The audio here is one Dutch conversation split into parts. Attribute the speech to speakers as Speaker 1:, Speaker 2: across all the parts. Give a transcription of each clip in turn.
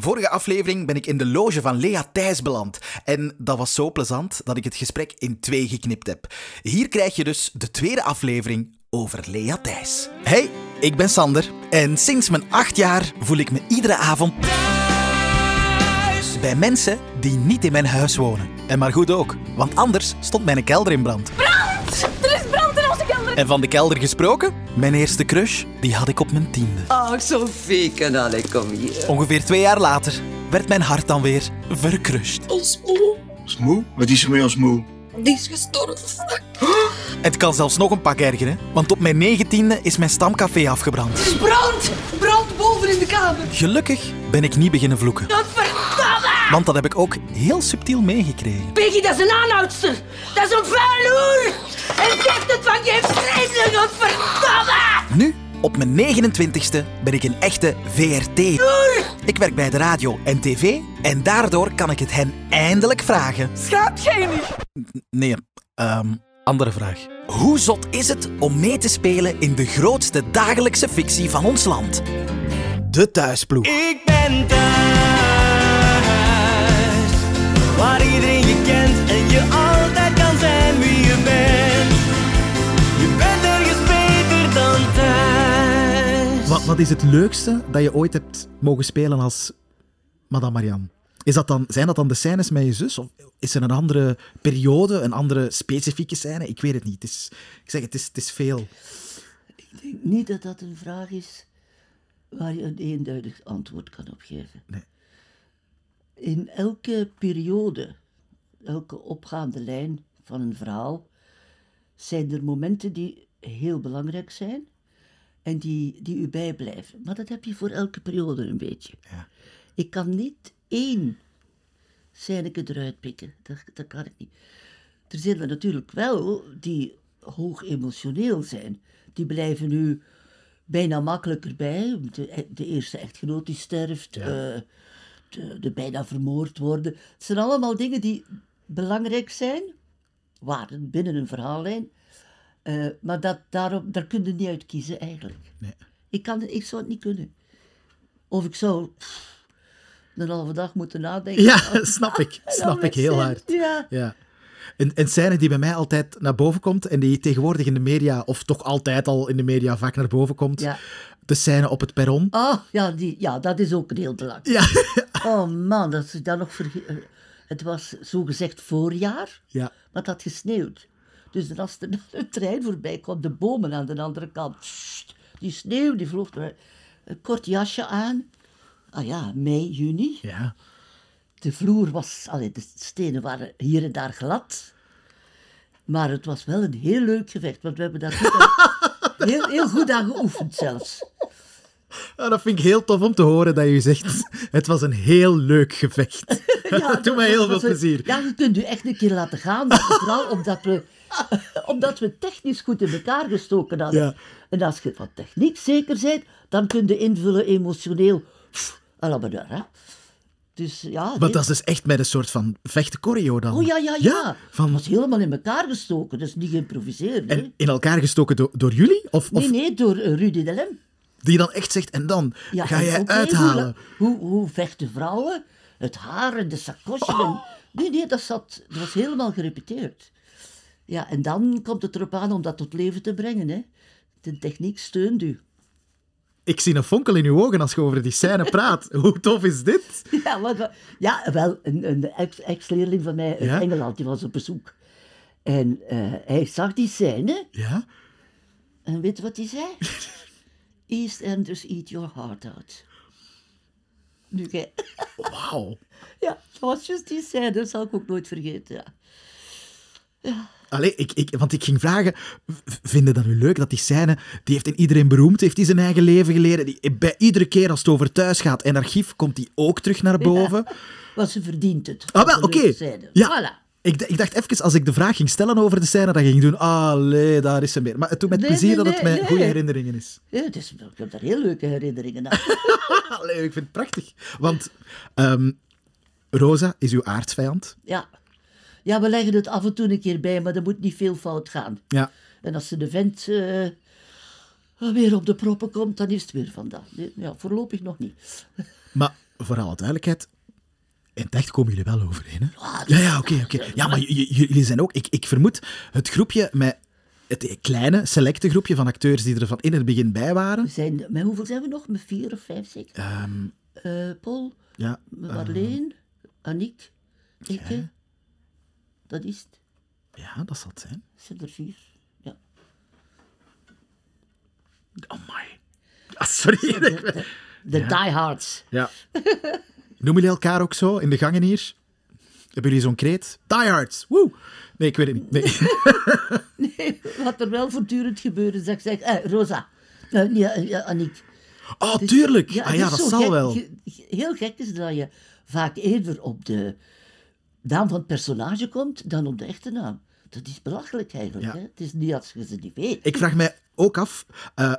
Speaker 1: Vorige aflevering ben ik in de loge van Lea Thijs beland. En dat was zo plezant dat ik het gesprek in twee geknipt heb. Hier krijg je dus de tweede aflevering over Lea Thijs. Hey, ik ben Sander. En sinds mijn acht jaar voel ik me iedere avond thuis bij mensen die niet in mijn huis wonen. En maar goed ook, want anders stond mijn kelder in brand.
Speaker 2: Er is brand in onze kelder.
Speaker 1: En van de kelder gesproken, mijn eerste crush, die had ik op mijn tiende.
Speaker 3: Ach, Sophie, kanale, kom hier.
Speaker 1: Ongeveer twee jaar later werd mijn hart dan weer verkrust.
Speaker 2: Ons moe.
Speaker 4: Ons moe? Wat is er met ons moe?
Speaker 2: Die is gestorven.
Speaker 1: Het kan zelfs nog een pak ergeren, want op mijn negentiende is mijn stamcafé afgebrand.
Speaker 3: is brand! Brand boven in de kamer.
Speaker 1: Gelukkig ben ik niet beginnen vloeken,
Speaker 2: Godverdomme!
Speaker 1: want dat heb ik ook heel subtiel meegekregen.
Speaker 2: Peggy, dat is een aanhoudster. Dat is een vuil hoer. En zegt het van je vreselijk, godverdomme!
Speaker 1: Nu, op mijn 29ste, ben ik een echte VRT. Ik werk bij de radio en tv en daardoor kan ik het hen eindelijk vragen.
Speaker 3: Schaapgenie.
Speaker 1: Nee, ehm, andere vraag. Hoe zot is het om mee te spelen in de grootste dagelijkse fictie van ons land? De thuisploeg.
Speaker 5: Ik ben thuis, waar iedereen je kent en je altijd kan zijn wie je bent. Je bent ergens beter dan thuis.
Speaker 1: Wat, wat is het leukste dat je ooit hebt mogen spelen als Madame Marianne? Is dat dan, zijn dat dan de scènes met je zus? Of is er een andere periode, een andere specifieke scène? Ik weet het niet. Het is, ik zeg, het is, het is veel.
Speaker 6: Niet dat dat een vraag is waar je een eenduidig antwoord kan op geven.
Speaker 1: Nee.
Speaker 6: In elke periode, elke opgaande lijn van een verhaal, zijn er momenten die heel belangrijk zijn en die, die u bijblijven. Maar dat heb je voor elke periode een beetje. Ik kan niet één scèneke eruit pikken. Dat, dat kan ik niet. Er zijn er natuurlijk wel die hoog emotioneel zijn. Die blijven nu bijna makkelijker bij. De, de eerste echtgenoot die sterft, eh, de, de bijna vermoord worden. Het zijn allemaal dingen die belangrijk zijn, waren binnen een verhaallijn. Eh, maar dat, daarom, daar kun je niet uit kiezen eigenlijk.
Speaker 1: Nee.
Speaker 6: Ik, kan, ik zou het niet kunnen. Of ik zou pff, een halve dag moeten nadenken.
Speaker 1: Ja, snap ik. Snap ik heel hard.
Speaker 6: Ja.
Speaker 1: Ja. Een, een scène die bij mij altijd naar boven komt en die tegenwoordig in de media, of toch altijd al in de media, vaak naar boven komt.
Speaker 6: Ja.
Speaker 1: De scène op het perron.
Speaker 6: Ah, ja, die, ja, dat is ook een heel belangrijk.
Speaker 1: Ja.
Speaker 6: Oh man, dat is dan nog verge- eh, Het was zogezegd voorjaar,
Speaker 1: ja.
Speaker 6: maar het had gesneeuwd. Dus dan als er dan een trein voorbij kwam, de bomen aan de andere kant. pssst, die sneeuw, die vloog er. Een kort jasje aan. Ah ja, mei, juni.
Speaker 1: Ja.
Speaker 6: De vloer was, allee, de stenen waren hier en daar glad. Maar het was wel een heel leuk gevecht, want we hebben daar goed aan- heel, heel goed aan geoefend zelfs.
Speaker 1: Ah, dat vind ik heel tof om te horen dat je zegt, het was een heel leuk gevecht. dat doet mij heel veel
Speaker 6: Dat was een-
Speaker 1: plezier.
Speaker 6: Ja, je kunt u echt een keer laten gaan. maar Vooral omdat we, omdat we technisch goed in elkaar gestoken hadden.
Speaker 1: Ja.
Speaker 6: En als je van techniek zeker bent, dan kun je invullen emotioneel. Pff, à la bonheur, hè. Dus ja...
Speaker 1: Maar
Speaker 6: nee.
Speaker 1: dat is dus echt met een soort van vechte choreo dan.
Speaker 6: Oh ja, ja, ja. Dat
Speaker 1: van,
Speaker 6: was helemaal in elkaar gestoken. Dat is niet geïmproviseerd. hè.
Speaker 1: en in elkaar gestoken door, door jullie? Of,
Speaker 6: Nee,
Speaker 1: of
Speaker 6: nee, door eh, Rudy de Lem.
Speaker 1: die dan echt zegt, en dan
Speaker 6: Ja,
Speaker 1: ga
Speaker 6: en
Speaker 1: jij
Speaker 6: ook heel
Speaker 1: uithalen.
Speaker 6: moeilijk. Hoe, hoe vechten vrouwen? Het haar en de sakosje. en- Nee, nee, dat, zat, dat was helemaal gerepeteerd. Ja, en dan komt het erop aan om dat tot leven te brengen. Hè. De techniek steunt u.
Speaker 1: Ik zie een fonkel in uw ogen als je over die scène praat. Hoe tof is dit?
Speaker 6: Ja, wat- wat- ja wel, een, een ex- ex-leerling van mij uit
Speaker 1: Ja?
Speaker 6: Engeland, die was op bezoek. En eh, hij zag die scène
Speaker 1: Ja?
Speaker 6: en weet je wat hij zei? Eastenders eat your heart out. Nu, jij-
Speaker 1: Wauw.
Speaker 6: ja, dat was juist die scène, dat zal ik ook nooit vergeten. Ja.
Speaker 1: Allee, ik, ik, want ik ging vragen, v- vinden dat nu leuk dat die scène, die heeft in iedereen beroemd, heeft die zijn eigen leven geleden. Die, eh, bij iedere keer als het over thuis gaat en archief, komt die ook terug naar boven.
Speaker 6: Want ze verdient het.
Speaker 1: Ah, wel,
Speaker 6: Dat
Speaker 1: oké.
Speaker 6: wil ik zeggen.
Speaker 1: Ja.
Speaker 6: Voilà.
Speaker 1: Ik, d- ik dacht even, als ik de vraag ging stellen over de scène, dan ging ik doen, allee, daar is ze meer. Maar het doet met
Speaker 6: Nee,
Speaker 1: plezier
Speaker 6: nee,
Speaker 1: dat het
Speaker 6: nee,
Speaker 1: mij
Speaker 6: nee.
Speaker 1: goede herinneringen is.
Speaker 6: Ja, het is, ik heb daar heel leuke herinneringen aan.
Speaker 1: Allee, ik vind het prachtig. Want ehm, Rosa is uw aardsvijand.
Speaker 6: ja. ja, we leggen het af en toe een keer bij, maar er moet niet veel fout gaan.
Speaker 1: Ja.
Speaker 6: En als ze de vent eh, ah, weer op de proppen komt, dan is het weer vandaag. Ja, voorlopig nog niet.
Speaker 1: Maar voor alle duidelijkheid, in het echt komen jullie wel overeen, hè?
Speaker 6: Oh, Ah, dus
Speaker 1: Ja, ja, oké, oké. Ja, maar j- j- jullie zijn ook... Ik, ik vermoed het groepje met... Het kleine, selecte groepje van acteurs die er van in het begin bij waren.
Speaker 6: We zijn, met hoeveel zijn we nog? Met vier of vijf zeker?
Speaker 1: Ehm,
Speaker 6: Eh, Paul,
Speaker 1: Ja,
Speaker 6: Marleen,
Speaker 1: eh,
Speaker 6: Aniek, Ikke. Dat is het.
Speaker 1: ja dat zal het zijn.
Speaker 6: Het zijn er vier. Ja.
Speaker 1: Amai. Ah, sorry.
Speaker 6: De diehards.
Speaker 1: Ja. Noemen jullie elkaar ook zo in de gangen hier? Hebben jullie zo'n kreet? Diehards! Woe! Nee, ik weet het niet. Nee.
Speaker 6: Wat er wel voortdurend gebeurde, is dat ik zeg, eh, Rosa. Eh, nee, eh, eh, Aniek.
Speaker 1: Oh, tuurlijk!
Speaker 6: dus- Ja,
Speaker 1: ah
Speaker 6: het
Speaker 1: ja,
Speaker 6: is
Speaker 1: dat
Speaker 6: zo
Speaker 1: zal
Speaker 6: gek.
Speaker 1: wel.
Speaker 6: Je- je- heel gek is dat je vaak eerder op de naam van het personage komt dan op de echte naam. Dat is belachelijk eigenlijk.
Speaker 1: Ja.
Speaker 6: Hè? Het is niet als je ze niet weet.
Speaker 1: Ik vraag mij ook af, eh,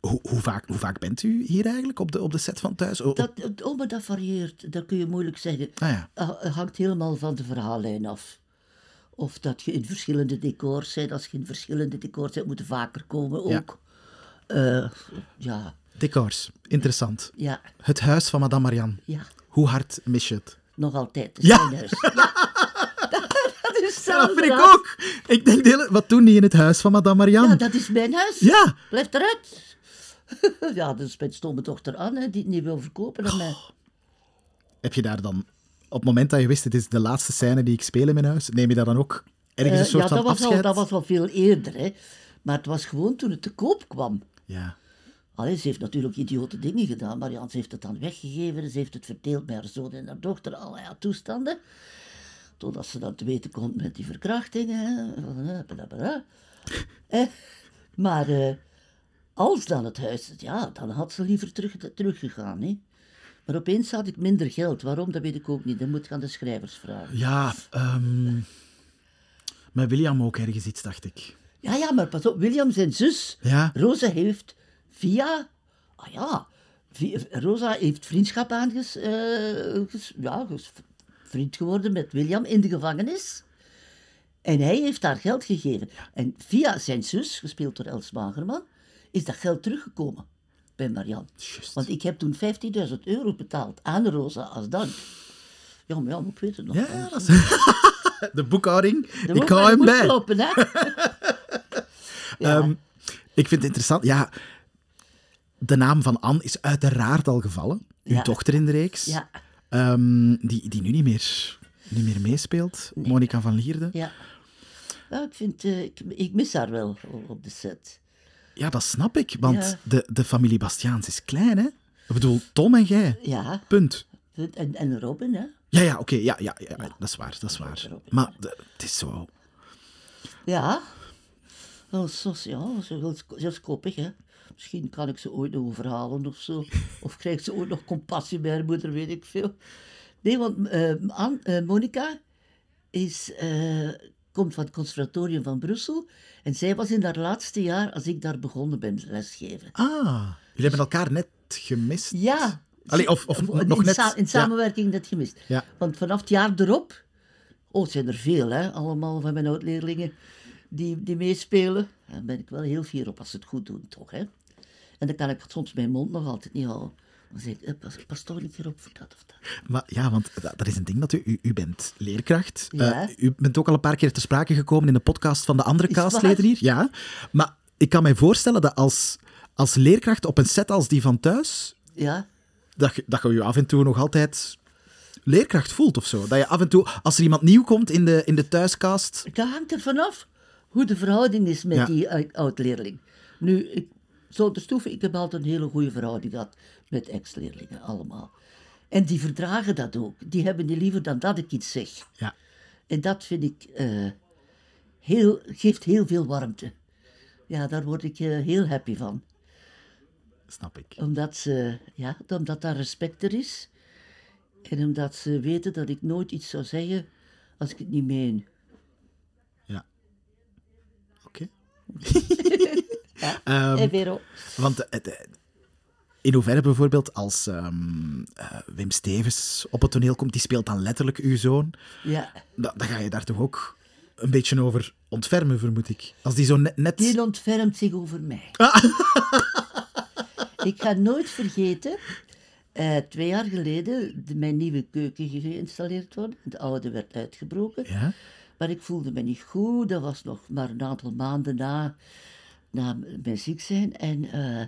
Speaker 1: hoe, hoe, vaak, hoe vaak bent u hier eigenlijk op de, op de set van thuis? O- op-
Speaker 6: Dat, oh, maar dat varieert. Dat kun je moeilijk zeggen.
Speaker 1: Ah ja.
Speaker 6: Ah, Het hangt helemaal van de verhaallijn af. Of dat je in verschillende decors bent. Als je in verschillende decors bent, moet je vaker komen
Speaker 1: Ja.
Speaker 6: ook. Eh, ja,
Speaker 1: Decors, interessant.
Speaker 6: ja,
Speaker 1: Het huis van madame Marianne.
Speaker 6: ja.
Speaker 1: Hoe hard mis je het?
Speaker 6: Nog altijd. Het
Speaker 1: Ja.
Speaker 6: mijn huis. Ja. Dat, dat is zo
Speaker 1: dat vind ik ook. Ik denk, de hele- wat doen die in het huis van madame Marianne?
Speaker 6: Ja,
Speaker 1: Ja,
Speaker 6: dat is mijn huis.
Speaker 1: ja.
Speaker 6: Blijf eruit. ja, dat is mijn stomme dochter Anne, die het niet wil verkopen aan mij.
Speaker 1: Oh, Heb je daar dan, op het moment dat je wist, dit is de laatste scène die ik speel in mijn huis, neem je daar dan ook ergens
Speaker 6: Eh,
Speaker 1: een soort
Speaker 6: ja,
Speaker 1: van
Speaker 6: dat was,
Speaker 1: afscheid?
Speaker 6: al, dat was al veel eerder. Hè. Maar het was gewoon toen het te koop kwam.
Speaker 1: Ja.
Speaker 6: Allee, ze heeft natuurlijk idiote dingen gedaan. Marianne ze heeft het dan weggegeven. Ze heeft het verdeeld bij haar zoon en haar dochter. Allerlei toestanden. Totdat ze dat te weten komt met die verkrachtingen. hè. Blablabla. Eh, Maar eh, als dan het huis... Ja, dan had ze liever terug, teruggegaan. Hè. Maar opeens had ik minder geld. Waarom, dat weet ik ook niet. Dat moet ik aan de schrijvers vragen.
Speaker 1: Ja, ehm, met William ook ergens iets, dacht ik.
Speaker 6: Ja, ja, maar pas op, William zijn zus,
Speaker 1: Ja.
Speaker 6: Rosa heeft via, ah ja, vi- Rosa heeft vriendschap aanges, eh, ges- ja, ges- vriend geworden met William in de gevangenis. En hij heeft haar geld gegeven. En via zijn zus, gespeeld door Els Wagerman, is dat geld teruggekomen bij Marianne. Want ik heb toen 15.000 euro betaald aan Rosa als dank. Ja, maar ja, maar ik weet het nog.
Speaker 1: Ja,
Speaker 6: wel.
Speaker 1: ja, dat is... De boekhouding,
Speaker 6: Oh, De
Speaker 1: ik hou
Speaker 6: woordvoerder
Speaker 1: hem
Speaker 6: moet
Speaker 1: bij.
Speaker 6: kloppen, hè. ja.
Speaker 1: Ehm, ik vind het interessant. Ja, de naam van Anne is uiteraard al gevallen. Uw
Speaker 6: Ja.
Speaker 1: dochter in de reeks.
Speaker 6: ja,
Speaker 1: Ehm, die, die nu niet meer, niet meer meespeelt. Monica van Lierde. Ja.
Speaker 6: Ja. Ja, ik, vind, eh, ik, ik mis haar wel o- op de set.
Speaker 1: dat snap ik. Want
Speaker 6: Ja.
Speaker 1: de, de familie Bastiaans is klein, hè? Ik bedoel, Tom en jij.
Speaker 6: Ja,
Speaker 1: Punt.
Speaker 6: en, en Robin, hè?
Speaker 1: Ja, ja, oké. ja, ja, ja, ja, dat is waar. Dat is waar.
Speaker 6: Robin.
Speaker 1: Maar de- het is zo...
Speaker 6: Ja. Wel, sos, ja, ze wil ze is koppig, hè? Misschien kan ik ze ooit nog overhalen of zo. Of krijgt ze ooit nog compassie bij haar moeder, weet ik veel. Nee, want eh An- eh, Monica is, eh, komt van het conservatorium van Brussel. En zij was in haar laatste jaar als ik daar begonnen ben lesgeven.
Speaker 1: Ah, jullie hebben elkaar net gemist.
Speaker 6: Ja.
Speaker 1: Allee, of- of
Speaker 6: In
Speaker 1: nog net-
Speaker 6: sa- in
Speaker 1: ja.
Speaker 6: samenwerking net gemist.
Speaker 1: Ja.
Speaker 6: Want vanaf het jaar erop... Oh, het zijn er veel, hè. Allemaal van mijn oud-leerlingen die, die meespelen. Daar ben ik wel heel fier op als ze het goed doen, toch, hè. En dan kan ik soms mijn mond nog altijd niet houden. Dan zeg ik, eh, pas, pas toch een keer op voor dat of dat.
Speaker 1: Maar, ja, want da- dat, is een ding dat u, u, u bent leerkracht.
Speaker 6: Ja.
Speaker 1: Eh, u bent ook al een paar keer te sprake gekomen in de podcast van de andere
Speaker 6: Is het
Speaker 1: castleden
Speaker 6: waar?
Speaker 1: hier. Ja, maar ik kan mij voorstellen dat als, als leerkracht op een set als die van thuis,
Speaker 6: Ja,
Speaker 1: dat je, dat je je af en toe nog altijd leerkracht voelt of zo. Dat je af en toe, als er iemand nieuw komt in de, in de thuiscast...
Speaker 6: dat hangt er vanaf hoe de verhouding is met
Speaker 1: Ja.
Speaker 6: die eh, oud-leerling. Nu, ik, zonder stoeven, ik heb altijd een hele goede verhouding gehad met ex-leerlingen, allemaal. En die verdragen dat ook. Die hebben die liever dan dat ik iets zeg.
Speaker 1: Ja,
Speaker 6: En dat vind ik eh, heel, geeft heel veel warmte. Ja, daar word ik eh, heel happy van.
Speaker 1: snap ik.
Speaker 6: Omdat, ze, ja, omdat daar respect er is. En omdat ze weten dat ik nooit iets zou zeggen als ik het niet meen.
Speaker 1: Ja. Oké.
Speaker 6: Hé, Vero?
Speaker 1: Want eh, het, eh, in hoeverre bijvoorbeeld als ehm, eh, Wim Stevens op het toneel komt, die speelt dan letterlijk uw zoon,
Speaker 6: Ja.
Speaker 1: da- dan ga je daar toch ook een beetje over ontfermen, vermoed ik. Als die zo net... net-
Speaker 6: Die ontfermt zich over mij. ik ga nooit vergeten eh, twee jaar geleden de- mijn nieuwe keuken geïnstalleerd worden. De oude werd uitgebroken.
Speaker 1: Ja?
Speaker 6: Maar ik voelde me niet goed. Dat was nog maar een aantal maanden na, na mijn ziek zijn. En eh,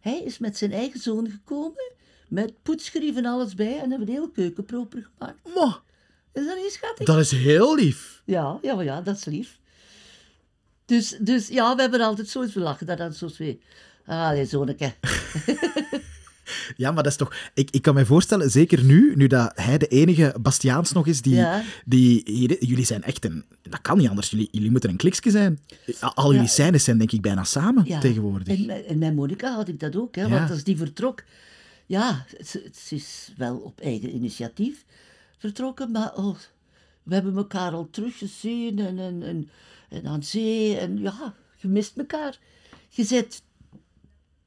Speaker 6: hij is met zijn eigen zoon gekomen. Met poetsgrief en alles bij. En hebben de hele keuken proper gemaakt.
Speaker 1: Mo,
Speaker 6: Is dat niet schattig?
Speaker 1: dat is heel lief.
Speaker 6: Ja, ja, maar ja, dat is lief. Dus, dus ja, we hebben altijd zoiets. We lachen daar dan zo twee. Allee, zonneke.
Speaker 1: Ja, maar dat is toch... Ik, ik kan me voorstellen, zeker nu, nu dat hij de enige Bastiaans nog is die...
Speaker 6: Ja.
Speaker 1: die hier- jullie zijn echt een... Dat kan niet anders. Jullie, jullie moeten een klikske zijn. Al al jullie scènes zijn denk ik bijna samen
Speaker 6: Ja.
Speaker 1: tegenwoordig.
Speaker 6: En, mijn- en mijn Monica had ik dat ook, hè,
Speaker 1: Ja.
Speaker 6: want als die vertrok... Ja, ze, ze is wel op eigen initiatief vertrokken, maar oh, we hebben elkaar al teruggezien en, en, en, en aan zee. En ja, je mist elkaar. Je zit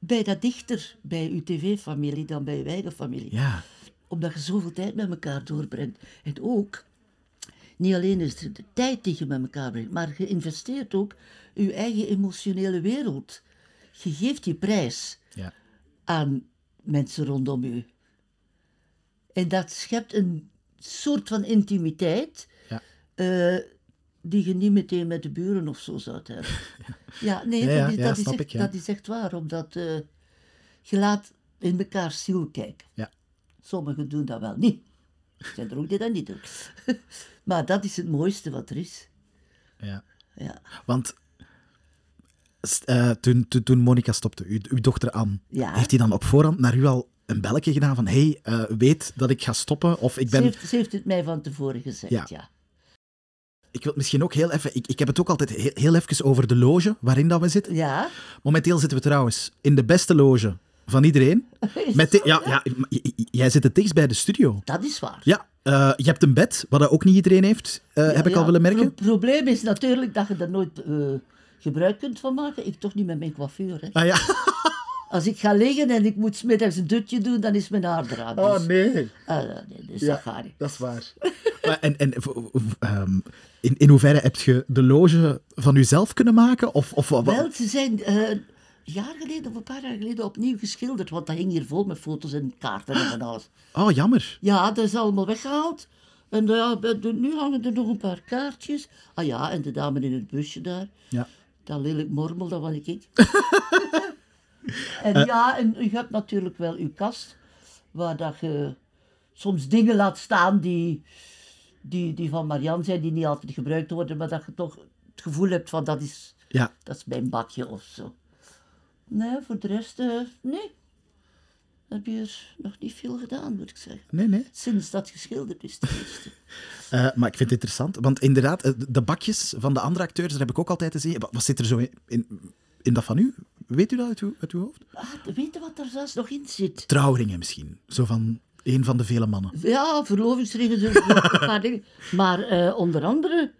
Speaker 6: bij dat dichter bij uw tv-familie dan bij uw eigen familie
Speaker 1: Ja.
Speaker 6: omdat je zoveel tijd met elkaar doorbrengt. En ook, niet alleen is het de tijd die je met elkaar brengt, maar je investeert ook je eigen emotionele wereld. Je geeft die prijs
Speaker 1: ja.
Speaker 6: aan mensen rondom u. En dat schept een soort van intimiteit
Speaker 1: Ja.
Speaker 6: eh, die je niet meteen met de buren of zo zou hebben. ja, nee,
Speaker 1: Ja, ja,
Speaker 6: dat, is,
Speaker 1: ja,
Speaker 6: dat, is
Speaker 1: snap
Speaker 6: echt,
Speaker 1: ik, ja.
Speaker 6: dat is echt waar, omdat eh, je laat in elkaar ziel kijken.
Speaker 1: Ja.
Speaker 6: Sommigen doen dat wel niet. Er zijn er ook die dat niet doen. maar dat is het mooiste wat er is.
Speaker 1: ja.
Speaker 6: Ja.
Speaker 1: Want s- eh, toen, toen, toen Monica stopte, uw, uw dochter Anne,
Speaker 6: Ja.
Speaker 1: heeft hij dan op voorhand naar u al een belletje gedaan van hey, eh, weet dat ik ga stoppen of ik
Speaker 6: Ze,
Speaker 1: ben...
Speaker 6: heeft, ze heeft het mij van tevoren gezegd,
Speaker 1: Ja.
Speaker 6: ja.
Speaker 1: Ik wil het misschien ook heel even... Ik, ik heb het ook altijd heel, heel even over de loge waarin dat we zitten.
Speaker 6: Ja,
Speaker 1: Momenteel zitten we trouwens in de beste loge van iedereen. Met de- ja, ja, j- j- j- jij zit het dichtst bij de studio.
Speaker 6: dat is waar.
Speaker 1: Ja, eh, je hebt een bed, wat dat ook niet iedereen heeft, eh, heb ik
Speaker 6: Ja,
Speaker 1: al willen merken.
Speaker 6: Het pro- probleem is natuurlijk dat je er nooit eh, gebruik kunt van maken. Ik toch niet met mijn coiffeur. Hè.
Speaker 1: Ah ja.
Speaker 6: Als ik ga liggen en ik moet 's middags een dutje doen, dan is mijn haar eraan. Dus,
Speaker 1: nee.
Speaker 6: ah, nee, dus dat gaat niet.
Speaker 1: is waar. en en v- v- ehm, in, in hoeverre heb je de loge van uzelf kunnen maken? Of, of wat?
Speaker 6: Wel, ze zijn eh, een jaar geleden of een paar jaar geleden opnieuw geschilderd. Want dat hing hier vol met foto's en kaarten en van alles.
Speaker 1: Oh, jammer.
Speaker 6: Ja, dat is allemaal weggehaald. En nou ja, bij de- nu hangen er nog een paar kaartjes. Ah ja, en de dame in het busje daar.
Speaker 1: Ja.
Speaker 6: Dat lelijk mormel, dat was ik. en ja, en je hebt natuurlijk wel uw kast, waar dat je soms dingen laat staan die, die, die van Marianne zijn, die niet altijd gebruikt worden, maar dat je toch het gevoel hebt van dat is,
Speaker 1: Ja.
Speaker 6: dat is mijn bakje of zo. Nee, voor de rest, eh, nee. Heb hier nog niet veel gedaan, moet ik zeggen.
Speaker 1: Nee, nee.
Speaker 6: Sinds dat geschilderd is, tenminste.
Speaker 1: Eh, maar ik vind het interessant, want inderdaad, eh, de bakjes van de andere acteurs, daar heb ik ook altijd gezien. Wat, wat zit er zo in, in, in dat van u? Weet u dat uit uw, uit uw hoofd?
Speaker 6: Ah, weet je wat daar zelfs nog in zit?
Speaker 1: Trouwringen misschien. Zo van een van de vele mannen.
Speaker 6: Ja, verlovingsringen, zo- zo- een paar dingen. Maar eh, onder andere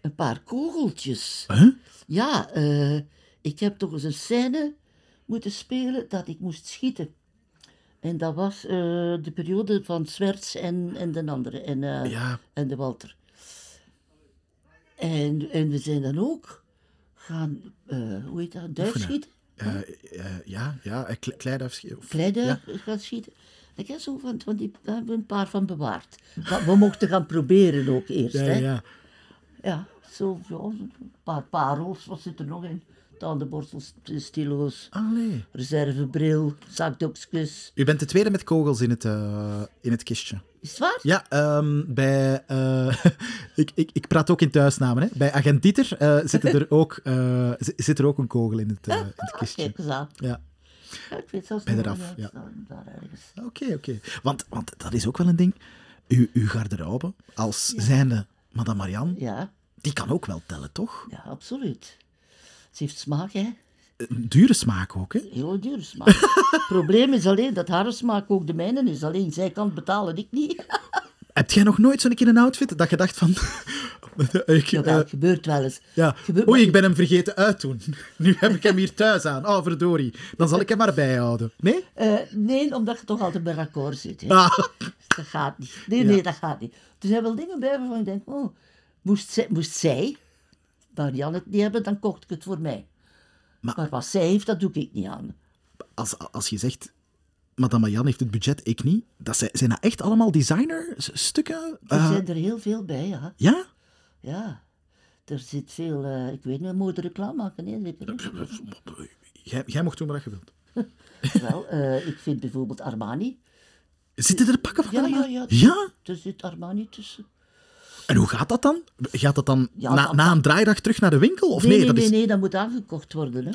Speaker 6: een paar kogeltjes.
Speaker 1: Huh?
Speaker 6: Ja, eh, ik heb toch eens een scène moeten spelen dat ik moest schieten. En dat was eh, de periode van Zwerts en, en de andere, en, eh,
Speaker 1: Ja.
Speaker 6: en de Walter. En, en we zijn dan ook gaan, eh, hoe heet dat, duif schieten?
Speaker 1: Eh, eh, ja, ja, eh, kle- kleiduif- of-
Speaker 6: Kleine
Speaker 1: Ja.
Speaker 6: gaan schieten. Ik heb zo van, van die, daar hebben we een paar van bewaard. Maar we mochten gaan proberen ook eerst.
Speaker 1: Ja,
Speaker 6: hè.
Speaker 1: ja, ja.
Speaker 6: Ja, zo, ja, een paar parels, wat zit er nog in? Tandenborstels, stilo's,
Speaker 1: Allee.
Speaker 6: reservebril, zakdoekjes.
Speaker 1: U bent de tweede met kogels in het, eh, in het kistje.
Speaker 6: Is het waar?
Speaker 1: Ja, ehm, bij, eh, ik, ik, ik praat ook in thuisnamen. Hè. Bij agent Dieter eh, zitten er ook, eh, zi- zit er ook een kogel in het, eh, in het kistje.
Speaker 6: Kijk eens aan.
Speaker 1: Ja,
Speaker 6: Ja, ik weet zelfs
Speaker 1: Ben
Speaker 6: niet
Speaker 1: eraf,
Speaker 6: waar het
Speaker 1: ja.
Speaker 6: staat, daar ergens.
Speaker 1: oké, oké. Want, want dat is ook wel een ding. U, uw garderobe, als zijnde madame Marianne,
Speaker 6: Ja,
Speaker 1: die kan ook wel tellen, toch?
Speaker 6: ja, absoluut. Het heeft smaak, hè.
Speaker 1: Een dure smaak ook, hè?
Speaker 6: Heel dure smaak. Het probleem is alleen dat haar smaak ook de mijne is. Alleen zij kan het betalen, ik niet.
Speaker 1: Heb jij nog nooit zo'n keer een outfit dat je dacht van... ik,
Speaker 6: Ja,
Speaker 1: eh,
Speaker 6: dat gebeurt wel eens.
Speaker 1: Ja.
Speaker 6: Gebeurt-
Speaker 1: Oei, ik ben hem vergeten uit doen. Nu heb ik hem hier thuis aan. Oh, verdorie. Dan zal ik hem maar bijhouden. Nee?
Speaker 6: Eh, nee, omdat je toch altijd bij akkoord zit. Hè?
Speaker 1: Ah.
Speaker 6: Dat gaat niet. Nee, nee, dat gaat niet. Er zijn wel dingen bij waarvan je denkt, oh, moest zij, moest zij Marianne het niet hebben, dan kocht ik het voor mij.
Speaker 1: Maar-
Speaker 6: Maar, wat zij heeft, dat doe ik niet aan.
Speaker 1: Als, als je zegt... Madame Jan heeft het budget, ik niet. Dat zijn, zijn dat echt allemaal designerstukken?
Speaker 6: Er
Speaker 1: Eh,
Speaker 6: zijn er heel veel bij, ja.
Speaker 1: ja?
Speaker 6: ja. Er zit veel, eh, ik weet niet, moet je reclame maken? Nee, zeker niet.
Speaker 1: Jij, jij mocht doen wat je wilt.
Speaker 6: Wel, eh, ik vind bijvoorbeeld Armani.
Speaker 1: Zitten er pakken van
Speaker 6: Ja, ja,
Speaker 1: allemaal?
Speaker 6: ja.
Speaker 1: Ja?
Speaker 6: Er zit Armani tussen.
Speaker 1: En hoe gaat dat dan? Gaat dat dan
Speaker 6: Ja,
Speaker 1: na,
Speaker 6: dat-
Speaker 1: na een draaidag terug naar de winkel? Of nee,
Speaker 6: nee,
Speaker 1: dat
Speaker 6: nee,
Speaker 1: is...
Speaker 6: nee, dat moet aangekocht worden. Hè.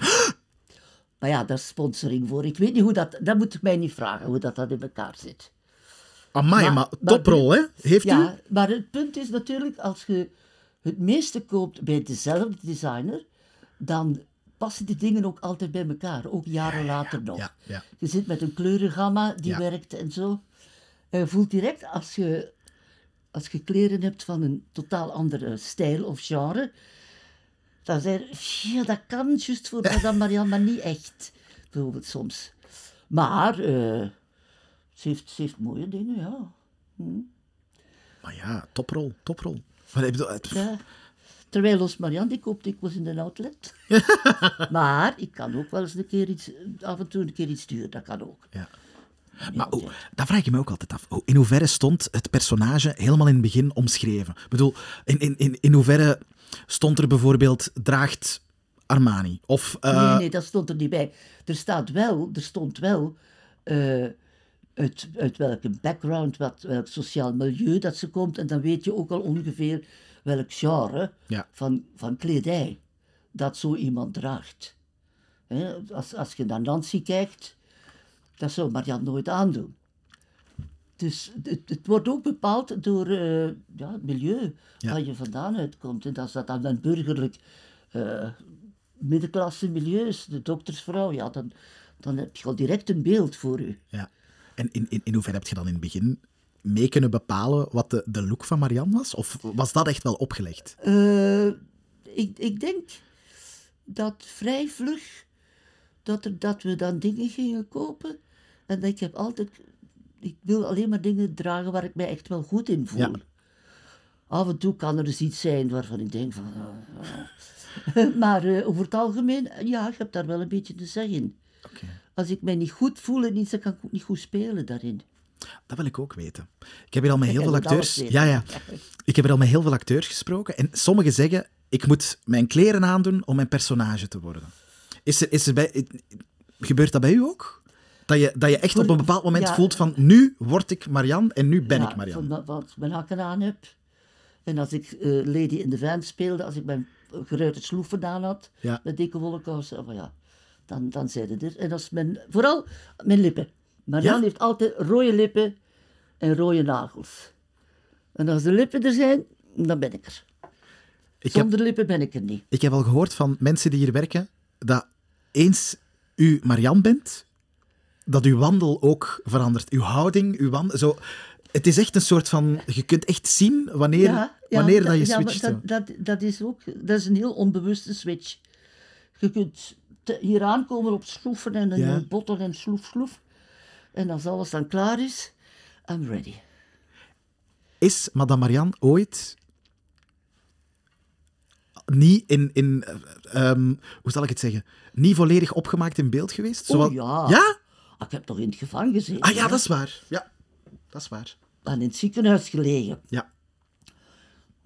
Speaker 6: Maar ja, daar is sponsoring voor. Ik weet niet hoe dat... Dat moet ik mij niet vragen, hoe dat, dat in elkaar zit.
Speaker 1: Amai, maar,
Speaker 6: Maar- maar-
Speaker 1: toprol, hè? Heeft
Speaker 6: ja,
Speaker 1: u?
Speaker 6: maar het punt is natuurlijk, als je het meeste koopt bij dezelfde designer, dan passen die dingen ook altijd bij elkaar, ook jaren later nog.
Speaker 1: ja, ja.
Speaker 6: Je zit met een kleurengamma die
Speaker 1: Ja.
Speaker 6: werkt en zo. En je voelt direct als je, als je kleren hebt van een totaal andere stijl of genre, dan zeg je, "Pff, ja, dat kan juist voor Madame Marianne, maar niet echt. Bijvoorbeeld soms. Maar eh, ze, heeft, ze heeft mooie dingen, ja.
Speaker 1: Maar ja, toprol, toprol. Maar ik bedoel, het-
Speaker 6: Ja. Terwijl ons Marian, die koopt ik was in een outlet. maar ik kan ook wel eens een keer iets, af en toe een keer iets duur, dat kan ook.
Speaker 1: Ja. Maar oh, dat vraag ik me ook altijd af. Oh, in hoeverre stond het personage helemaal in het begin omschreven? Ik bedoel, in, in, in, in hoeverre stond er bijvoorbeeld draagt Armani? Of eh,
Speaker 6: Nee, nee, dat stond er niet bij. Er staat wel, er stond wel eh, uit, uit welke background, wat, welk sociaal milieu dat ze komt. En dan weet je ook al ongeveer welk genre
Speaker 1: Ja.
Speaker 6: van, van kledij dat zo iemand draagt. Hè, als, als je naar Nancy kijkt, dat zou Marian nooit aandoen. Dus het, het wordt ook bepaald door eh, ja, het milieu
Speaker 1: Ja.
Speaker 6: waar je vandaan uitkomt. En als dat dan een burgerlijk eh, middenklasse milieus, de doktersvrouw, ja, dan, dan heb je al direct een beeld voor u.
Speaker 1: ja. En in, in, in hoeverre heb je dan in het begin mee kunnen bepalen wat de, de look van Marianne was? Of was dat echt wel opgelegd?
Speaker 6: Eh, ik, ik denk dat vrij vlug dat, er, dat we dan dingen gingen kopen. En dat ik heb altijd... Ik wil alleen maar dingen dragen waar ik mij echt wel goed in voel.
Speaker 1: Ja.
Speaker 6: Af en toe kan er dus iets zijn waarvan ik denk van... ah, ah. maar eh, over het algemeen, ja, ik heb daar wel een beetje te zeggen in. Als ik mij niet goed voel in iets, dan kan ik ook niet goed spelen daarin.
Speaker 1: Dat wil ik ook weten. Ik heb hier al met heel
Speaker 6: Jij
Speaker 1: veel
Speaker 6: moet
Speaker 1: acteurs.
Speaker 6: alles
Speaker 1: Ja, ja. Ik heb er al met heel veel acteurs gesproken. En sommigen zeggen: ik moet mijn kleren aandoen om mijn personage te worden. Is er, is er bij, gebeurt dat bij u ook? Dat je, dat je echt op een bepaald moment
Speaker 6: Ja.
Speaker 1: voelt van nu word ik Marianne en nu ben
Speaker 6: Ja,
Speaker 1: ik Marianne.
Speaker 6: Van wat- wat ik mijn hakken aan heb. En als ik eh, Lady in the Van speelde, als ik mijn geruite sloef gedaan had,
Speaker 1: Ja.
Speaker 6: met dikke wollenkousen, oh, ja, dan, dan zei het er. En als mijn, vooral mijn lippen. Marianne
Speaker 1: Ja?
Speaker 6: heeft altijd rode lippen en rode nagels. En als de lippen er zijn, dan ben ik er.
Speaker 1: Ik heb,
Speaker 6: Zonder lippen ben ik er niet.
Speaker 1: ik heb al gehoord van mensen die hier werken dat eens u Marianne bent, dat uw wandel ook verandert. Uw houding, uw wandel. Zo, het is echt een soort van. Je kunt echt zien wanneer, wanneer dat, je
Speaker 6: ja, maar
Speaker 1: switcht. zo.
Speaker 6: dat, dat, dat is ook dat is een heel onbewuste switch. Je kunt te- hier aankomen op sloeven en een
Speaker 1: Ja.
Speaker 6: botten en sloef, sloef. En als alles dan klaar is, I'm ready.
Speaker 1: Is Madame Marianne ooit niet in, in eh, ehm, hoe zal ik het zeggen, niet volledig opgemaakt in beeld geweest?
Speaker 6: Oh,
Speaker 1: Zowel-
Speaker 6: ja.
Speaker 1: Ja?
Speaker 6: Ah, ik heb toch in het gevangen gezeten.
Speaker 1: Ah ja,
Speaker 6: hè?
Speaker 1: dat is waar. Ja, dat is waar.
Speaker 6: En in het ziekenhuis gelegen.
Speaker 1: Ja,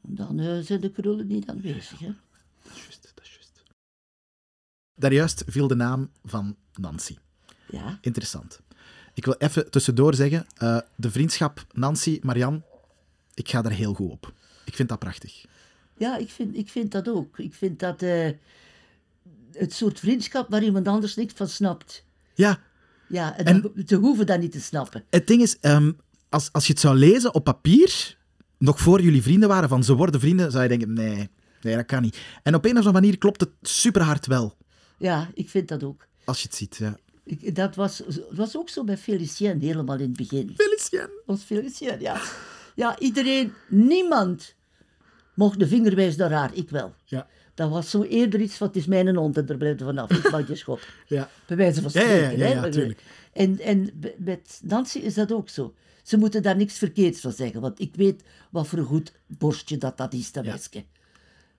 Speaker 6: Dan eh, zijn de krullen niet aanwezig. Hè?
Speaker 1: dat is juist, dat is juist. Daarjuist viel de naam van Nancy.
Speaker 6: Ja.
Speaker 1: Interessant. Ik wil even tussendoor zeggen, eh, de vriendschap Nancy-Marianne, ik ga daar heel goed op. Ik vind dat prachtig.
Speaker 6: Ja, ik vind, ik vind dat ook. Ik vind dat eh, het soort vriendschap waar iemand anders niks van snapt.
Speaker 1: Ja,
Speaker 6: Ja, en,
Speaker 1: En-
Speaker 6: dan- ze hoeven dat niet te snappen.
Speaker 1: Het ding is, ehm, als, als je het zou lezen op papier, nog voor jullie vrienden waren, van ze worden vrienden, zou je denken, nee, nee, dat kan niet. En op een of andere manier klopt het superhard wel,
Speaker 6: Ja, ik vind dat ook.
Speaker 1: als je het ziet. Ja.
Speaker 6: Ik- Dat was, dat was ook zo bij Felicien helemaal in het begin.
Speaker 1: Felicien.
Speaker 6: Ons Felicien, ja. Ja, iedereen, niemand mocht de vinger wijzen naar haar, ik wel.
Speaker 1: Ja.
Speaker 6: Dat was zo eerder iets van, het is mijn hond en daar blijft er vanaf, ik mag je schop.
Speaker 1: Ja.
Speaker 6: Bij wijze van
Speaker 1: Ja, ja,
Speaker 6: spreken.
Speaker 1: ja,
Speaker 6: hè.
Speaker 1: ja, tuurlijk.
Speaker 6: En, en b- met Nancy is dat ook zo. Ze moeten daar niks verkeerds van zeggen, want ik weet wat voor een goed borstje dat, dat is, dat
Speaker 1: Ja.
Speaker 6: meisje.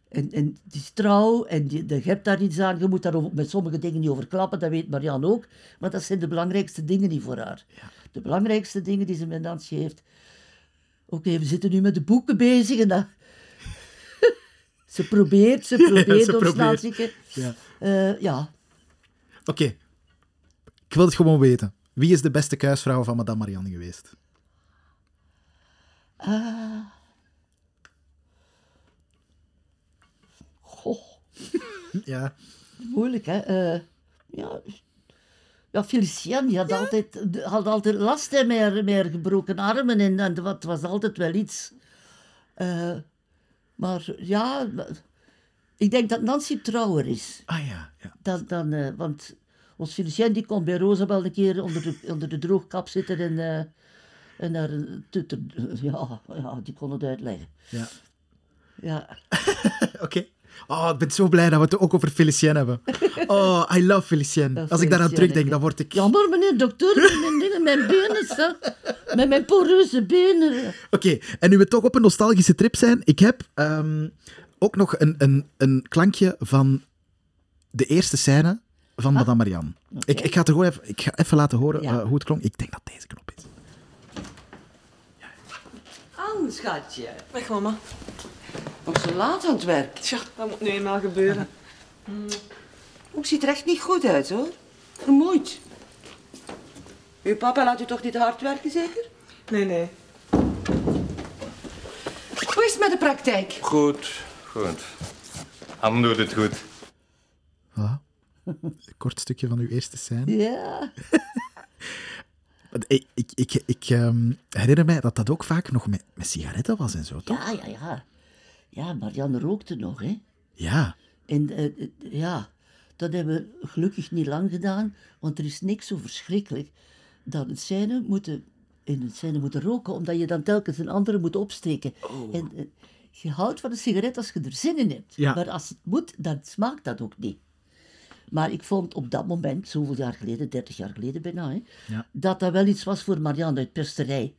Speaker 6: En, en het is trouw en die, de- je hebt daar iets aan. Je moet daar over- met sommige dingen niet over klappen, dat weet Marianne ook. Maar dat zijn de belangrijkste dingen niet voor haar. De belangrijkste dingen die ze met Nancy heeft. Oké, we zitten nu met de boeken bezig en dat... ze probeert, ze probeert
Speaker 7: ze
Speaker 6: om
Speaker 7: probeert.
Speaker 6: Snelzieke.
Speaker 7: Ja.
Speaker 6: Eh, ja,
Speaker 7: Oké. Ik wil het gewoon weten. Wie is de beste kuisvrouw van madame Marianne geweest?
Speaker 6: goh,
Speaker 7: Ja.
Speaker 6: moeilijk hè. Eh, ja. ja, Felician die had, Altijd, die had altijd last hè, met, haar- met haar gebroken armen en, en het was altijd wel iets. Eh, maar ja, ik denk dat Nancy trouwer is.
Speaker 7: Ah ja. ja.
Speaker 6: dan, dan, eh, want ons Felicien die kon bij Rosa wel een keer onder de, onder de droogkap zitten en, eh, en daar een tutter... Ja, ja, die kon het uitleggen.
Speaker 7: ja.
Speaker 6: Ja,
Speaker 7: Oké. Oh, ik ben zo blij dat we het ook over Felicien hebben. Oh, I love Felicien.
Speaker 6: Dat
Speaker 7: Als ik daaraan
Speaker 6: Felicien,
Speaker 7: terugdenk,
Speaker 6: ik-
Speaker 7: dan word ik... Oké,
Speaker 6: jammer meneer dokter, met mijn, dingen, mijn benen, zo. met mijn poreuze benen.
Speaker 7: en nu we toch op een nostalgische trip zijn, ik heb ehm, ook nog een, een, een klankje van de eerste scène van Madame Marianne. Ik, ik ga het er gewoon even, ik ga even laten horen
Speaker 6: Ah. Ja.
Speaker 7: eh, hoe het klonk. Ik denk dat deze knop is.
Speaker 3: Anne, schatje.
Speaker 8: Weg, mama.
Speaker 3: Nog zo laat aan het werk.
Speaker 8: Tja, dat moet nu eenmaal gebeuren.
Speaker 3: Ook ziet er echt niet goed uit, hoor. Vermoeid. Uw papa laat u toch niet hard werken, zeker?
Speaker 8: Nee, nee.
Speaker 3: Hoe is het met de praktijk?
Speaker 9: Goed, goed. Anne doet het goed.
Speaker 7: Voilà. Een kort stukje van uw eerste scène.
Speaker 6: Ja,
Speaker 7: Want Ik, ik, ik, ik ehm, herinner mij dat dat ook vaak nog met, met sigaretten was en zo, toch?
Speaker 6: ja, ja, ja. Ja, Marianne rookte nog, hè.
Speaker 7: Ja.
Speaker 6: En eh, eh, ja, dat hebben we gelukkig niet lang gedaan, want er is niks zo verschrikkelijk dan een scène moeten, in een scène moeten roken, omdat je dan telkens een andere moet opsteken. En, eh, je houdt van een sigaret als je er zin in hebt,
Speaker 7: Oh. Ja.
Speaker 6: maar als het moet, dan smaakt dat ook niet. Maar ik vond op dat moment, zoveel jaar geleden, 30 jaar geleden bijna, hè,
Speaker 7: Ja.
Speaker 6: dat dat wel iets was voor Marianne uit Pesterij.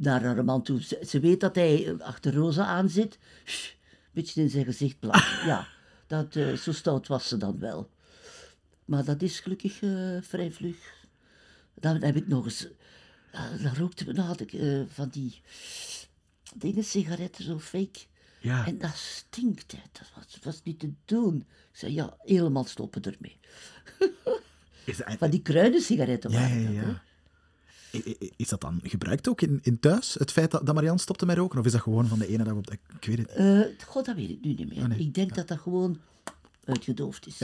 Speaker 6: Naar haar man toe. Ze, ze weet dat hij eh, achter Rosa aan zit. Sst, Een beetje in zijn gezicht plakken. ja, dat, eh, zo stout was ze dan wel. Maar dat is gelukkig eh, vrij vlug. Dan heb ik nog eens... ja, dan rookte we, dan had ik eh, van die dingen, sigaretten, zo fake.
Speaker 7: Ja.
Speaker 6: En dat stinkt, hè. dat was, was niet te doen. Ik zei, ja, helemaal stoppen ermee.
Speaker 7: Is dat,
Speaker 6: Van die kruidensigaretten
Speaker 7: ja,
Speaker 6: waren
Speaker 7: ja,
Speaker 6: dat, hè.
Speaker 7: ja. I- i- Is dat dan gebruikt ook in, in thuis, het feit dat, dat Marianne stopte met roken? Of is dat gewoon van de ene dag op de... Ik weet het niet.
Speaker 6: Eh, God, dat weet ik nu niet meer.
Speaker 7: Oh, nee.
Speaker 6: Ik denk dat dat gewoon uitgedoofd is.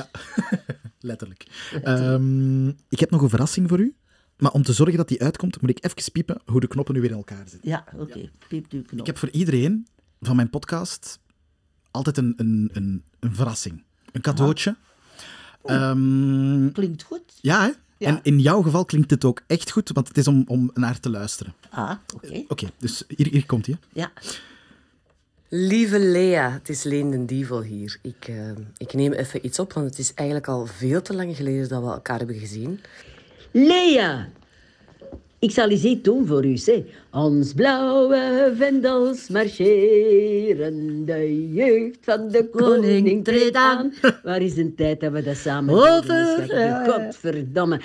Speaker 7: Letterlijk. Ehm, ik heb nog een verrassing voor u. Maar om te zorgen dat die uitkomt, moet ik even piepen hoe de knoppen nu weer in elkaar zitten.
Speaker 6: Ja, oké. Piept uw knop.
Speaker 7: Ik heb voor iedereen van mijn podcast altijd een, een, een, een verrassing. Een cadeautje. Ehm,
Speaker 6: Klinkt goed.
Speaker 7: ja, hè? En in jouw geval klinkt dit ook echt goed, want het is om, om naar te luisteren.
Speaker 6: Ah, oké.
Speaker 7: Oké, dus hier, hier komt hij.
Speaker 6: Ja.
Speaker 10: Lieve Lea, het is Leen den Dievel hier. Ik, eh, ik neem even iets op, want het is eigenlijk al veel te lang geleden dat we elkaar hebben gezien.
Speaker 2: Lea, ik zal eens iets doen voor u. Hè. Ons blauwe vendels marcheren, de jeugd van de koning treedt aan. Waar is een tijd dat we dat samen
Speaker 6: Over,
Speaker 2: deden, schatje? Godverdomme.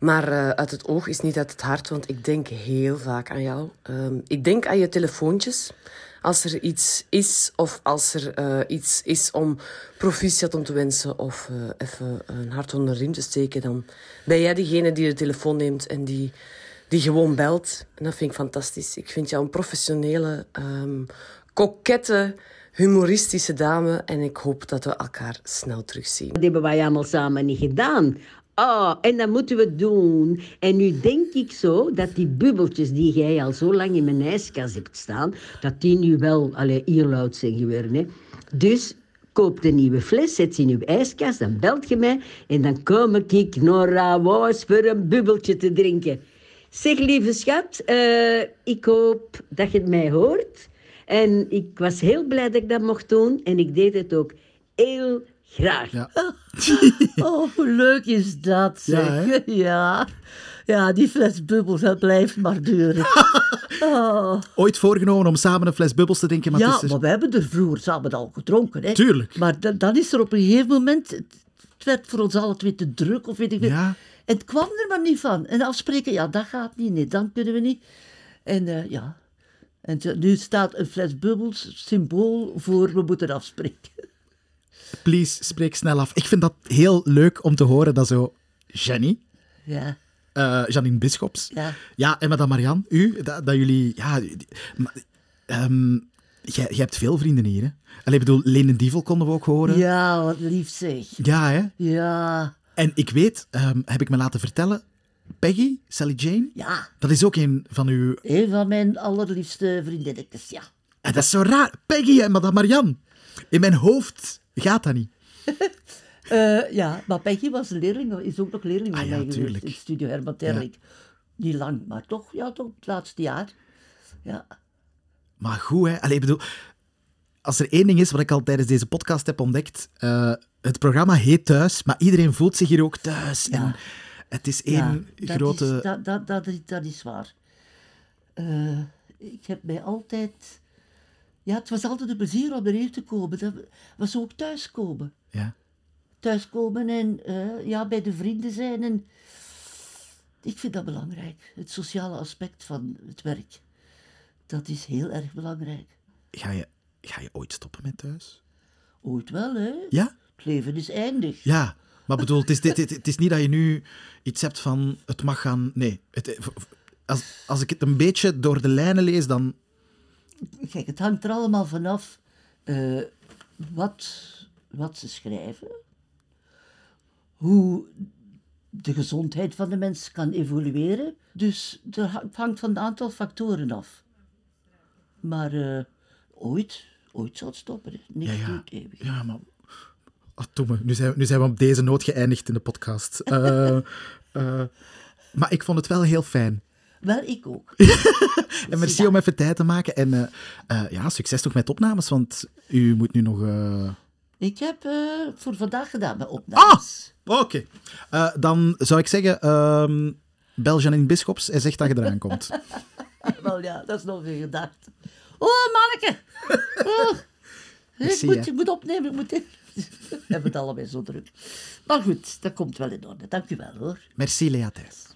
Speaker 10: Maar eh, uit het oog is niet uit het hart, want ik denk heel vaak aan jou. Ehm, ik denk aan je telefoontjes. Als er iets is of als er eh, iets is om proficiat om te wensen of eh, even een hart onder de riem te steken, dan ben jij diegene die de telefoon neemt en die, die gewoon belt. En dat vind ik fantastisch. Ik vind jou een professionele, ehm kokette, humoristische dame. En ik hoop dat we elkaar snel terugzien.
Speaker 2: Dat hebben wij allemaal samen niet gedaan. Oh, en dat moeten we doen. En nu denk ik zo dat die bubbeltjes die jij al zo lang in mijn ijskast hebt staan, dat die nu wel allee, ierluid zijn geworden. Hè. Dus koop een nieuwe fles, zet ze in uw ijskast, dan belt je mij en dan kom ik naar Woos voor een bubbeltje te drinken. Zeg lieve schat, eh, ik hoop dat je het mij hoort. En ik was heel blij dat ik dat mocht doen en ik deed het ook heel graag.
Speaker 6: Oh, hoe leuk is dat,
Speaker 7: Ja,
Speaker 6: zeg. Ja. Ja, die fles bubbels, dat blijft maar duren. Oh.
Speaker 7: Ooit voorgenomen om samen een fles bubbels te drinken, maar
Speaker 6: ja,
Speaker 7: het is er-
Speaker 6: maar we hebben er vroeger samen al gedronken. Hè.
Speaker 7: Tuurlijk.
Speaker 6: Maar da- dan is er op een gegeven moment... Het het werd voor ons alle twee te druk of weet ik veel.
Speaker 7: Ja.
Speaker 6: En het kwam er maar niet van. En afspreken, ja, dat gaat niet. Nee, dan kunnen we niet. En eh, ja... En t- nu staat een fles bubbels symbool voor we moeten afspreken.
Speaker 7: Please, spreek snel af. Ik vind dat heel leuk om te horen dat zo Jenny,
Speaker 6: Ja,
Speaker 7: eh Janine Bischops,
Speaker 6: ja.
Speaker 7: Ja, en madame Marianne, u, dat, dat jullie... Ja, die- maar, ehm, jij, jij hebt veel vrienden hier, hè? Allee, ik bedoel, Leen en Dievel konden we ook horen.
Speaker 6: Ja, wat lief zeg.
Speaker 7: Ja, hè?
Speaker 6: Ja,
Speaker 7: En ik weet, ehm, heb ik me laten vertellen, Peggy, Sally Jane,
Speaker 6: ja.
Speaker 7: dat is ook een van uw...
Speaker 6: Een van mijn allerliefste vriendinnetjes, ja.
Speaker 7: En dat is zo raar. Peggy en madame Marianne. In mijn hoofd gaat dat niet.
Speaker 6: Eh, ja, maar Peggy was een leerling, is ook nog leerling bij
Speaker 7: Ah ja,
Speaker 6: mij geweest
Speaker 7: tuurlijk.
Speaker 6: in Studio Herman Terlik. Niet lang, maar toch, ja, toch het laatste jaar. Ja,
Speaker 7: Maar goed, hè. Allee, ik bedoel, als er één ding is wat ik al tijdens deze podcast heb ontdekt, eh, het programma heet Thuis, maar iedereen voelt zich hier ook thuis. En het is één
Speaker 6: ja, dat
Speaker 7: grote...
Speaker 6: Is, dat, dat, dat, is- dat is waar. Eh, ik heb mij altijd... Ja, het was altijd een plezier om erheen te komen. Dat was ook thuiskomen.
Speaker 7: Ja.
Speaker 6: Thuiskomen en eh, ja, bij de vrienden zijn. En... Ik vind dat belangrijk. Het sociale aspect van het werk. Dat is heel erg belangrijk.
Speaker 7: Ga je, ga je ooit stoppen met thuis?
Speaker 6: Ooit Oh, wel, hè?
Speaker 7: Ja?
Speaker 6: Het leven is eindig.
Speaker 7: Ja. Maar bedoel, het is, dit, dit- het is niet dat je nu iets hebt van het mag gaan. Nee. Het, eh, als, als ik het een beetje door de lijnen lees, dan.
Speaker 6: Kijk, het hangt er allemaal vanaf eh, wat, wat ze schrijven, hoe de gezondheid van de mens kan evolueren. Dus er ha- het hangt van een aantal factoren af. Maar eh, ooit, ooit zal het stoppen. hè. Niks
Speaker 7: Ja, ja.
Speaker 6: duurt eeuwig.
Speaker 7: Ja, maar. Ah, domme. Nu zijn, we- nu zijn we op deze noot geëindigd in de podcast. Eh, eh, maar ik vond het wel heel fijn.
Speaker 6: Wel, ik ook.
Speaker 7: En merci om even tijd te maken. En eh, eh, ja, succes toch met opnames, want u moet nu nog. eh,
Speaker 6: Ik heb eh, voor vandaag gedaan mijn opnames.
Speaker 7: Oké. Eh, dan zou ik zeggen, ehm bel Janine Bischops en zeg dat je eraan komt.
Speaker 6: Wel ja, dat is nog weer gedacht. Oh, manneke! Oh. Ik,
Speaker 7: Merci,
Speaker 6: moet,
Speaker 7: hè.
Speaker 6: ik moet opnemen, ik moet... in- We hebben het allebei zo druk. Maar goed, dat komt wel in orde. Dank u wel, hoor.
Speaker 7: Merci, Lea Thijs.